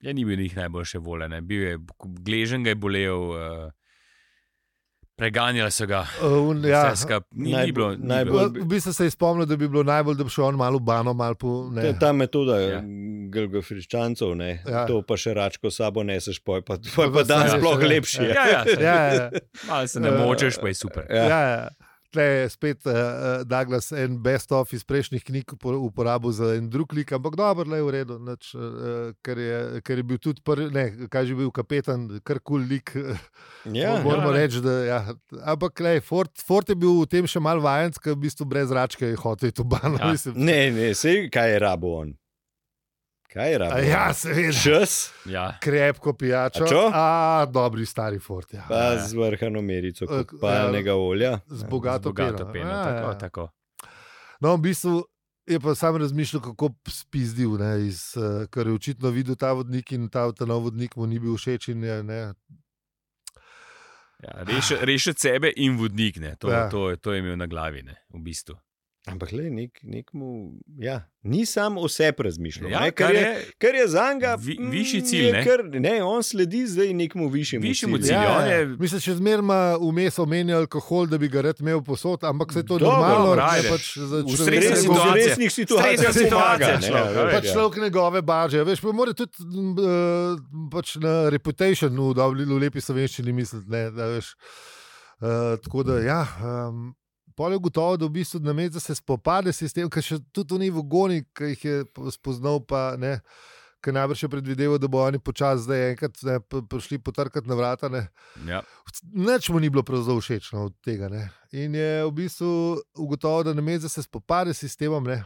S4: ja, ni bil njih najboljše volje. ne. Bil je gležen, ga je bolel, uh, preganjali so ga.
S3: Uh, un, ja,
S4: Vse skup- ni,
S2: najbolj-
S4: ni bilo. Ni
S2: najbolj-
S4: bilo.
S3: v v bistvu se je spomnil, da bi bilo najbolj, da bi šel on malo v bano, malo po.
S2: To
S3: Ne,
S2: je ta metoda
S4: Ja.
S2: ja. Gelgofričancev,
S3: Ja.
S2: ja. to pa še račko sabo neseš, poj pa, poj pa
S3: pa
S2: dan
S3: se-
S2: sploh
S3: ja.
S2: lepši. je.
S4: Ja, ja, se-
S3: ja, ja, ja.
S4: malo se ne
S3: Eh,
S4: močeš, pa je super.
S2: Ja.
S3: Ja. Ja, Tle je spet uh, Douglas, en best-of iz prejšnjih knjig upor- uporabil za en drug lik, ampak dobro, le je v redu, nič, uh, ker, je, ker je bil tudi prvi, ne, kaj že bil kapetan, kar kul cool lik.
S2: Ja,
S3: Ja,
S4: ja,
S3: moramo ja,
S4: ne.
S3: reči, da ja. ampak le, Ford, Ford je bil v tem še mal vajenc, ker v bistvu brez račke je hotel to bano.
S4: Ja.
S3: mislim.
S2: Ne, ne, sej kaj je rabo on. Kaj je rabo?
S3: A ja, seveda.
S2: Čas,
S4: Ja.
S3: Krepko pijačo.
S2: A čo?
S3: A, dobri stari Ford. Ja.
S2: pa
S4: Ja.
S2: z vrhano merico
S3: Eh,
S2: kopalnega olja.
S3: Z bogato,
S4: Z bogato
S3: peno.
S4: peno.
S3: Ja,
S4: Tako,
S3: ja.
S4: tako.
S3: No, v bistvu je pa sam razmišljal, kako bi spizdil, ne, iz, eh, ker je očitno videl ta vodnik in ta, ta nov vodnik mu ni bil všeč. In, je, ne,
S4: Ja, reši- Rešiti sebe in vodnik, ne. to,
S3: Ja.
S4: ja. to, je- to je imel na glavi, ne. v bistvu.
S2: Ampak le, nek, nek mu, ja, ni sam o sebi razmišljal.
S4: Ja,
S2: ne,
S4: kar
S2: ker je,
S4: je,
S2: ker je za njega
S4: Vi-
S2: mm,
S4: višji cilj,
S2: je
S4: ne.
S2: Kar, ne, on sledi zdaj nekemu višjemu,
S4: Višjemu
S2: cilju.
S4: cilju. Ja, on je-
S3: Mislim, še zmeraj ima vmes omenja alkohol, da bi ga rad imel posod, ampak se to
S2: Dobro,
S3: normalno
S4: dobro,
S3: ne,
S4: ajde.
S3: pač za
S4: V
S2: V
S3: človeka
S4: stresnih
S2: resnih-
S3: ne
S4: situacijah.
S2: v resnih situacijah
S4: Stresna situacija
S2: pomaga, ne,
S4: človek,
S2: veš,
S3: Pač
S2: ja.
S3: človek njegove barže, veš, pa mora tudi uh, pač na reputation v, dobri, v lepi slovenščini misliti. Ne, da, veš, uh, tako da, ja, um, pol je gotovo, da v bistvu named, da se spopade s tem, kar še tudi oni vogoni, ki jih je po- spoznal, pa ne. Ker najbrž je predvideval, da bo oni počasi zdaj enkrat ne, p- prišli potrkati na vrata. Ne.
S4: Ja.
S3: Nič mu ni bilo pravzaprav všeč no, od tega. Ne. In je v bistvu ugotovil, da named, da se spopade s sistemom, ne,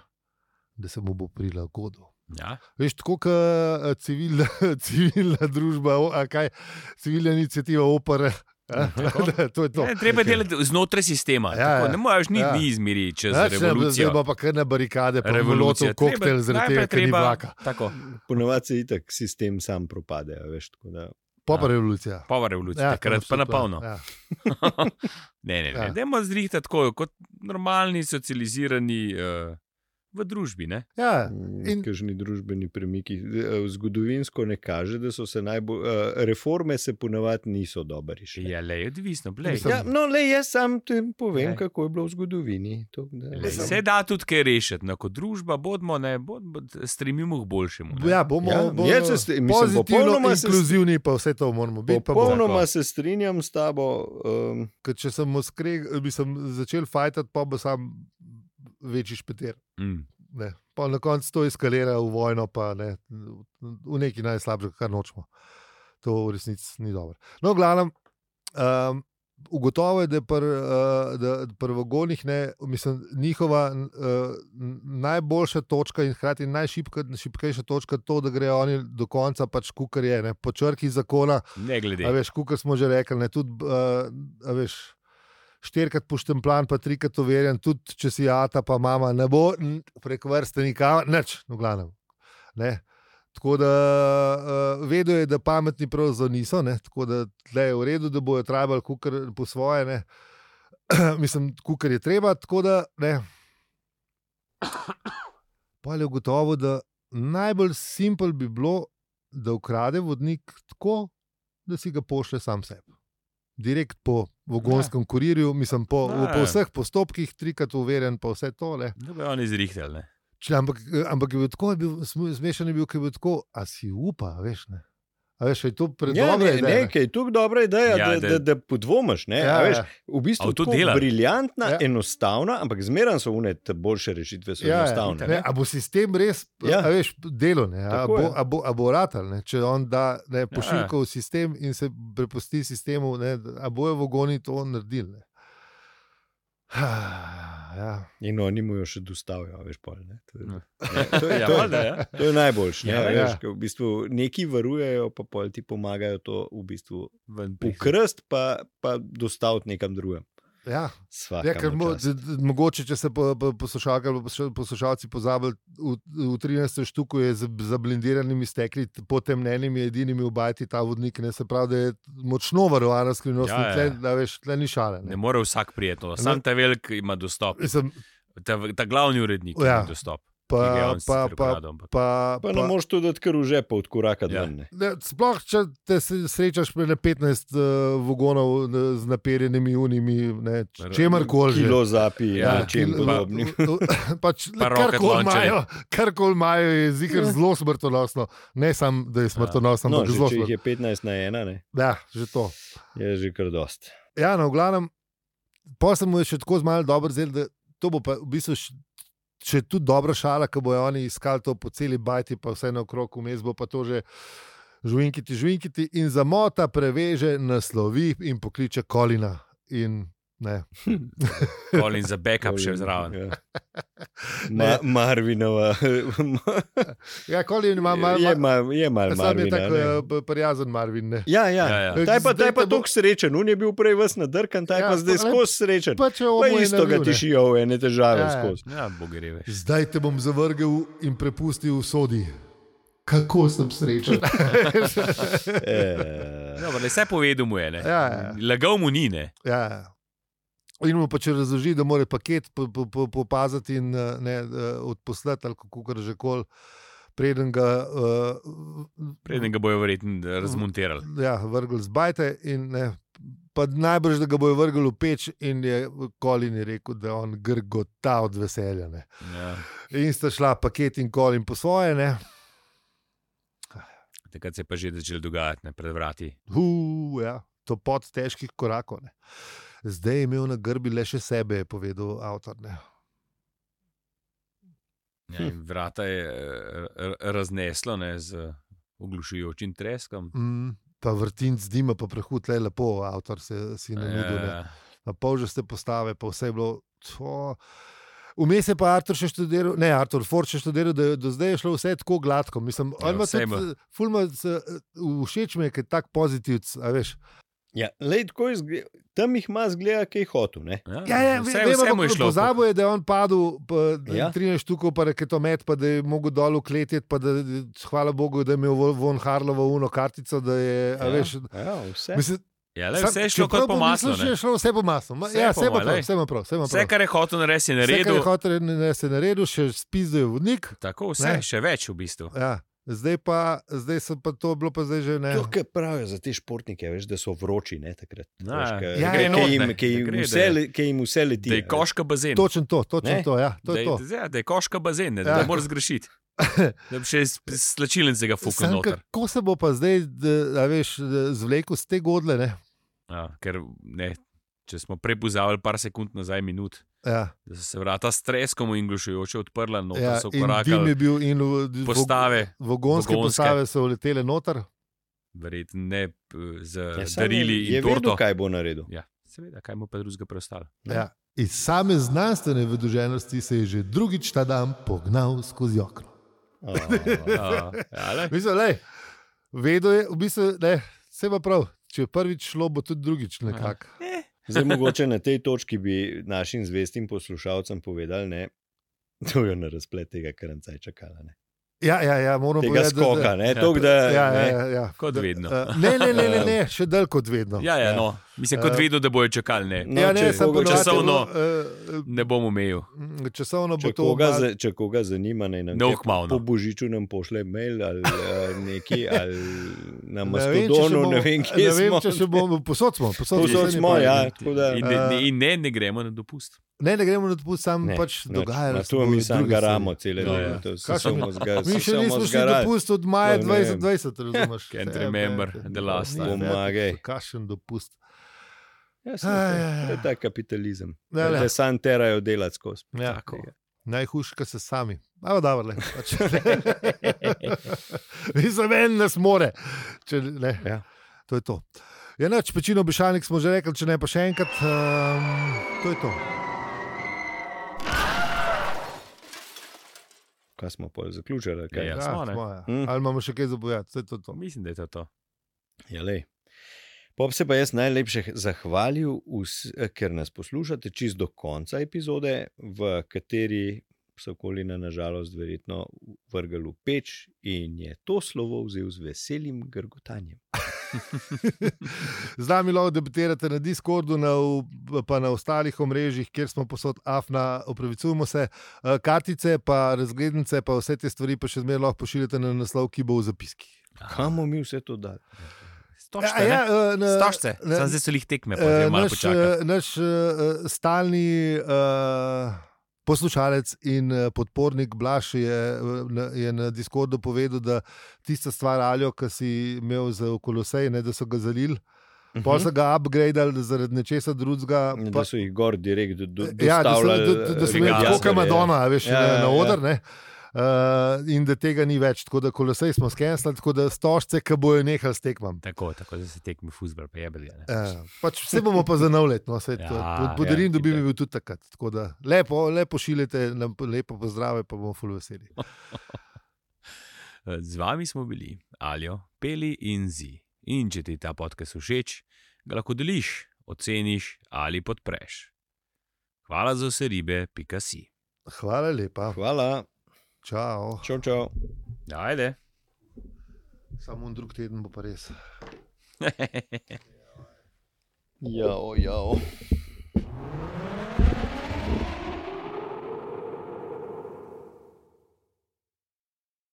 S3: da se mu bo prilagodil.
S4: Ja.
S3: Veš, tako kot eh, civilna, civilna družba, o, a kaj, civilna inicijativa opere.
S4: Mhm.
S3: to je to.
S4: Ne, Ja, treba je delati znotraj sistema.
S3: Ja,
S4: Ja, tako,
S3: ja.
S4: ne moreš ni,
S3: Ja.
S4: ja. ni izmeri čez
S3: Ja,
S4: ja,
S3: če ne bo- Zdaj
S4: revolucijo.
S3: bo pa kar na barikade, pa
S4: Revolucija.
S3: revolucija, koktel zaradi tega, ker ni vlaka.
S4: Tako,
S2: Ponovadi se itak sistem sam propade, a veš. tako Da,
S3: Pa pa
S4: Ja.
S3: revolucija.
S4: pova revolucija,
S3: Ja,
S4: ja, takrat
S3: to
S4: pa
S3: je
S4: na
S3: super,
S4: polno.
S3: Ja.
S4: Ne, ne, ne.
S3: Ja.
S4: Ja. Dajmo zrihtati tako, kot normalni, socializirani uh, v družbi. Ne?
S3: ja, in-
S2: In... Kažni družbeni premiki. eh, Zgodovinsko ne kaže, da so se najbolj. eh, Reforme se ponavadi niso dobre rešile.
S4: Je le Ja, odvisno. Blej.
S3: Mislim,
S2: Ja, no, le jaz sam ti povem,
S4: Glej.
S2: Lej. kako je bilo v zgodovini. To, da,
S4: Lej, Se da tudi kaj rešiti, no, kot družba, bodimo, ne, bod, bod, stremimo k boljšemu. ne.
S3: ja, bomo,
S2: Ja,
S3: bomo
S2: jaz se s- mislim,
S3: pozitivno,
S2: popolnoma se s-
S3: inkluzivni, pa vse to moramo biti. pa bomo.
S2: Popolnoma se strinjam s tabo. Um,
S3: Ker Če sem, skreg, bi sem začel fajtati, pa bo sam večji špeter.
S4: Mm.
S3: Ne. Pa na koncu to eskalira v vojno, pa ne, v neki najslabši, kar nočemo. To v resnici ni dobro. No, v glavnem, um, ugotovo je, da pri uh, prvogonih ne, mislim, njihova uh, najboljša točka in hkrati najšipkejša točka je to, da grejo oni do konca, pač kukar je, ne, po črki zakona,
S4: Ne glede.
S3: A veš, kot smo že rekli, ne, tudi, uh, a veš, štirikrat pošten plan, pa trikrat overjen, tudi če si ata, pa mama ne bo n- prek vrste nikamor, nič, no glavnem. Ne. Tako da uh, vedo je, da pametni pravzaprav niso, ne? tako da tle je v redu, da bojo trajali kukar po svoje, ne? mislim, kukar je treba. Tako da ne. Pa je gotovo, da najbolj simpel bi bilo, da ukrade vodnik tako, da si ga pošle sam sebi. Direkt po vogonskem kurirju, mislim, po,
S4: Ja.
S3: po vseh postopkih, trikrat uverjen, pa vse tole.
S4: Da bi No, oni zrihtali. ne.
S3: Če, ampak, eh, ampak je bil tako, je bil, sm- smešen je bil, ker je bil tako, a si upa, a veš. Ne? A veš, a je to
S2: Ja,
S3: predobro.
S2: ne, nekaj, tu je dobra
S4: Ja,
S2: ideja, ja,
S4: da-
S2: da, da, da podvomiš. Ne,
S3: Ja,
S2: ja, veš,
S3: ja.
S2: v bistvu
S4: A
S2: je
S4: to
S2: to
S4: dela?
S2: briljantna,
S3: Ja.
S2: ja. enostavna, ampak zmeraj so une te boljše rešitve, so
S3: Ja,
S2: ja,
S3: ja,
S2: enostavne.
S3: Ne,
S2: Ja,
S3: a bo sistem res, ja.
S2: Ja.
S3: a veš, delo, ne, a,
S2: Tako
S3: bo,
S2: je. Ja.
S3: a, bo, a bo ratal, ne, če on da ne, pošiljko v sistem in se prepusti sistemu, ne, a bojo vogoni to naredili. ne. Ja.
S2: In oni mu jo še dostavijo, a veš, pol. Ne, to, je,
S4: Ja.
S2: ne, to, je,
S4: Ja,
S2: to,
S4: valjda,
S2: je,
S4: ja.
S2: to je najboljše.
S4: Ja,
S2: Ja,
S3: ja.
S2: ja. V bistvu neki varujejo, pa pol ti pomagajo to v bistvu
S4: Ven prihod.
S2: ukrst, pa, pa dostaviti nekam drugem.
S3: Ja.
S2: Svaka
S3: Ja, ker
S2: mu
S3: mo,
S2: čast.
S3: d- d- mogoče, če se po- po- poslušalke ali pa posluša- poslušalci pozabili, v, v 13. štuku je z, za blindiranimi stekli, t- potemnenimi, edinimi obajti ta vodnik. Ne, se pravi, da je močno varovana skrivnost,
S4: Ja, ja.
S3: ja, tle, da veš, tle ni šale.
S4: Ne
S3: Ne.
S4: more vsak prijetno, sam ta velik ima dostop.
S3: Mislim,
S4: Ta, ta glavni urednik
S3: Ja.
S4: ja. ima dostop. ki ga je
S3: pa,
S4: on
S3: pa,
S4: sicer
S3: pa,
S4: ukradel, ampak-
S3: pa,
S2: Pa ne moreš to dati kar v žepa od koraka
S4: Ja.
S2: ja. ven. ne.
S3: Ne, sploh, če te se- srečaš pri 15 uh, vagonov eh, z naperjenimi unimi, ne, č-
S4: Ra-
S3: čemarkoli. že.
S2: Kilo zapi,
S4: Ja,
S2: ja, ja, čem
S3: kil-
S2: podobnim.
S3: v- v- Pač,
S4: Pa rocket
S3: Karkoli
S4: launcherji.
S3: imajo, kar imajo, je zikr
S2: Ja.
S3: zelo smrtonosno. Ne samo, da je
S4: Ja.
S3: smrtonosno,
S2: No,
S3: ampak
S2: že,
S3: zelo
S2: če jih
S3: smrtonosno.
S2: je 15 na 1, ne,
S3: Ja, že to.
S2: je že kar dost.
S3: Ja, no, v glavnem, posem mu je še tako zmal dober zel, da to bo pa v bistvu še, še tudi dobra šala, ki bojo oni iskali to po celi bajti, pa vse naokrog, vmes bo pa to že. Žuvinkiti, žuvinkiti in zamota, preveže, naslovi in pokliče Kolina. In, ne,
S4: Colin za backup še zraven.
S2: Ja. Ma, Marvinova.
S3: ja, Kolin ima malo.
S2: je malo je mal
S3: Sam je
S2: Marvina.
S3: tako
S2: ne.
S3: eh, b- prijazen, Marvin. Ne.
S2: Ja, ja.
S4: Ja, ja.
S2: ja. Ta je pa,
S3: Zdaj
S2: ta je
S3: te
S2: pa
S3: bo-
S2: toliko srečen, on je bil prej vas nadrkan, ta je
S3: Ja,
S2: ja, pa zdaj
S3: pa le-
S2: skozi srečen. Pa,
S3: Pa če
S2: pa
S3: oboje
S2: isto ga
S3: naredil, ne.
S2: tišijo, ene težave
S3: Ja,
S2: ja,
S3: ja.
S2: skozi.
S4: Ja, bogi reve.
S3: Zdaj te bom zavrgel in prepustil sodi. Kako sem srečen.
S2: E,
S4: Dobro, le vse povedal mu je, ne.
S3: Ja, ja.
S4: Lagal mu ni, ne.
S3: ja. In mu pa če razloži, da mora paket po- po- po- popaziti in eh, ne, eh, odposlati, ali kako kar že koli, preden ga uh,
S4: Preden ga bojo verjetno razmontirali.
S3: ja, vrgli z bajte. In, ne, pa najbrž, da ga bojo vrgli v peč, in je Kolin je rekel, da on grgota od veselja. Ne.
S4: Ja.
S3: In sta šla paket in Kolin po svoje, ne.
S4: Takrat se je pa že začel dogajati, ne, pred vrati.
S3: Hu, ja, to pod težkih korakov. Ne. Zdaj je imel na grbi le še sebe, je povedal avtor. Ne.
S4: Ja,
S3: Hm.
S4: in vrata je eh, r- razneslo, ne, z oglušujočim treskom.
S3: Mm, pa vrtinc dima, pa prehud, le lepo, avtor se si na nudu. Ne.
S4: Ja,
S3: Na polžaste postave, pa vse je bilo. To. Vmes je pa Artur še študiral, ne Artur Ford še študiral, da je do zdaj je šlo vse tako gladko. Mislim,
S4: Ja,
S3: on ima
S4: vse je
S3: tudi, fulma, všeč mi je, ker je tako pozitivc, a veš.
S2: ja, lej, tako izgleda, tam jih ima zgleda, kaj je hotel. Ne?
S4: ja,
S3: Ja, ja,
S4: vse,
S3: vse, vemo,
S4: vse mu je
S3: kako
S4: šlo.
S3: pozabo je, da je on padel, pa, ja.
S2: Ja.
S3: 13 štukov, pa raketomet, pa da je mogel dol ukleteti, pa da, hvala Bogu, da je imel Vol- von Harlovo uno kartico, da je, ja.
S2: Ja.
S3: veš,
S2: Ja, vse.
S3: mislim,
S4: Ja, le,
S3: sam-
S4: vse je šlo
S3: čeprav
S4: kot po
S3: bom
S4: maslu.
S3: mislil,
S4: ne.
S3: Je šlo vse po maslu. Ma,
S4: Vse
S3: ja,
S4: po
S3: vse je
S4: moje,
S3: prav,
S4: lej.
S3: vse je prav, vse je
S4: Vse,
S3: no, prav.
S4: kar je hotel narediti, je
S3: Vse, kar je
S4: naredil.
S3: hotel, Ja. ne se je naredil, še spis, da je vodnik.
S4: Tako, vse,
S3: Ne.
S4: ne. še več v bistvu.
S3: Ja. Zdaj pa, zdaj so pa to bilo pa zdaj že ne.
S2: To, kar pravijo za te športnike, veš, da so vroči ne, takrat.
S4: Ja,
S2: Veš, ka-
S3: ja,
S2: ka- ka
S4: enotne,
S2: jim-
S4: da
S2: ka jim
S4: gre, da
S2: vse
S4: je-
S2: le- Ka jim vse leti. ja,
S4: Da je
S2: a veš.
S4: koška bazen.
S3: Točen to, točen
S2: Ne.
S3: to, ja, to
S4: da,
S3: je to.
S4: je, ja, da je koška bazen, ne, da
S3: Ja.
S4: ja. moraš zgrešiti. Da bi še slačilnice ga fukal
S3: Samo
S4: noter.
S3: kako se bo pa zdaj, da, a veš, zvlekel z te godle, ne?
S4: Ja, ker ne, če smo prepuzavali par sekund nazaj, minut,
S3: Ja.
S4: da so se vrata s treskom in glušujoče odprla, no
S3: Ja,
S4: ja, so
S3: in dim je
S4: korakali
S3: bil, in v- v-
S4: postave,
S3: Vogonske, vogonske
S4: Vogonske.
S3: postave so uletele noter.
S4: verjetno ne p- z
S2: Ja,
S4: ja,
S2: samo
S4: darili
S2: je
S4: in torto.
S2: Vedel, kaj bo naredil.
S4: Ja, seveda, kaj mu pa drugega preostalo.
S2: Ne.
S3: Ja. Iz same znanstvene vedoženosti se je že drugič ta dan pognal skozi okno.
S2: A,
S4: Ja, ja, lej.
S3: Mislim, lej, vedel je, v bistvu, ne, vse pa prav. Če je prvič šlo, bo tudi drugič nekako.
S2: Zdaj, mogoče na tej točki bi našim zvestim poslušalcem povedali, ne, da bojo na razplet tega karancaja čakali. Ne.
S3: Ja, ja, ja moram
S2: tega
S3: povedati. da- da-
S2: skoka. Ne, tok, da,
S3: Ja, ja,
S2: ne.
S3: ja, ja.
S4: Kot vedno.
S3: Eh, Ne, ne, ne, ne, ne še dalj kot vedno.
S4: Ja, ja, no. Mislim, kot
S3: Eh,
S4: vedo, da bojo čakali, ne,
S2: No,
S3: ja, ne,
S2: če
S3: sem
S2: koga-
S3: ponovadi-
S4: časovno.
S3: eh, eh,
S4: ne bom umejil.
S3: Mm, Časovno bo
S2: Če
S3: to. No,
S2: koga,
S3: malo-
S2: za, če koga zanima, naj nam
S4: Ne
S2: je
S4: ukmavno.
S2: Po Božiču nam pošle mail ali eh, neki, ali na
S3: Ne vem, če še
S2: Mastodonu,
S3: bomo-
S2: ne vem,
S3: ne
S2: kje
S3: vem,
S2: smo.
S3: če še bomo, posod smo, posod
S2: Povsod
S3: naslednji
S2: smo,
S3: pa-
S2: ja, tako da.
S4: In,
S3: Eh,
S4: ne, in ne, ne gremo na dopust.
S3: Ne, ne gremo na dopust, sam
S2: Ne,
S3: pač
S2: noč.
S3: dogaja.
S2: Na to mi samo garamo, cele
S4: Ja, ja.
S2: dneve. to se
S3: No, Kakšen-
S2: samo zga- se
S3: Mi še
S2: samo
S3: nismo šli
S2: zgarali.
S3: dopust od maja
S2: To ne
S3: 2020, razumeš?
S4: Can't
S3: Sebe,
S4: remember the last
S3: ni
S4: time.
S3: več,
S2: Pomagaj.
S3: Kakšen dopust.
S2: Ja, saj to je-
S3: Aj,
S2: to je ta kapitalizem.
S3: Ne, ne.
S2: Da sam terajo delati skozi.
S3: Ja.
S4: Tako.
S3: Najhujška se sami. Ampak dobro, le. Pač. Mislim, en nas more. Če, ne.
S2: Ja.
S3: To je to. Ja, noč, pečino obišalnik smo že rekli, če ne pa še enkrat. Um, to je to.
S2: Kaj smo pol zaključili? ali Kaj?
S4: Ja,
S2: Ja.
S4: smo, ne.
S3: smo, ja.
S2: Mm.
S3: Ali imamo še kaj zapovedati? To je to. to.
S4: Mislim, da je to. to.
S2: Jelej. Pop Ja, se pa jaz najlepše zahvalil, vs, ker nas poslušate čist do konca epizode, v kateri so okolina nažalost verjetno vrgli v peč in je to slovo vzel z veselim grgotanjem.
S3: Z nami lahko debatirate na Discordu, na, v- pa na ostalih omrežjih, kjer smo posod afna, opravičujemo se. Eh, Kartice, pa razglednice, pa vse te stvari pa še zmeraj lahko pošiljate na naslov, ki bo v zapiski.
S2: Kam bomo mi vse to dali?
S4: Stožce,
S3: Ja,
S4: ja,
S3: ja, eh, na-
S4: Stožce.
S3: na-
S4: Sam zdaj so jih tekme, pa
S3: Eh,
S4: že malo
S3: naš,
S4: počakaj.
S3: eh, naš eh, eh, stalni uh, poslušalec in eh, podpornik Blaž je, eh, na- je na Discordu povedal, da tista stvar Aljo, ki si imel za okolosej, ne, da so ga zalili, uh -huh. pa so ga upgradili zaradi nečesa drugega.
S2: Mhm.
S3: Pa,
S2: Da so jih gor direkt do, do,
S3: ja, da so, da,
S2: dostavljali,
S3: da, da so
S2: eh,
S3: imeli tako,
S2: radiatorje.
S3: kot ima doma, veš, ja,
S2: Ja,
S3: na,
S2: ja,
S3: na
S2: ja.
S3: oder. Ne? Uh, in da tega ni več, tako da kolosej smo skenirali, tako da stožce, ki bojo nehali s tekmam.
S4: Tako, tako da se tekmi fuzbol, pa je bil.
S3: Ja, pač vse bomo pa zanavljali, no, vse to.
S4: Ja,
S3: Pod- Podarim,
S4: ja,
S3: da bi
S4: itak.
S3: mi bil tudi takrat. Tako da lepo, lepo pošiljate, nam lepo pozdrave, pa bomo ful veseli.
S4: Eh, Z vami smo bili Aljo, Peli in Zi. In če ti je ta podcast všeč, ga lahko deliš, oceniš ali podpreš. Hvala za vse ribe, pika si.
S3: Hvala lepa.
S2: Hvala,
S3: Čau.
S2: čau, čau.
S4: Ajde.
S3: Samo en drug teden bo pa res.
S2: Jao, jao.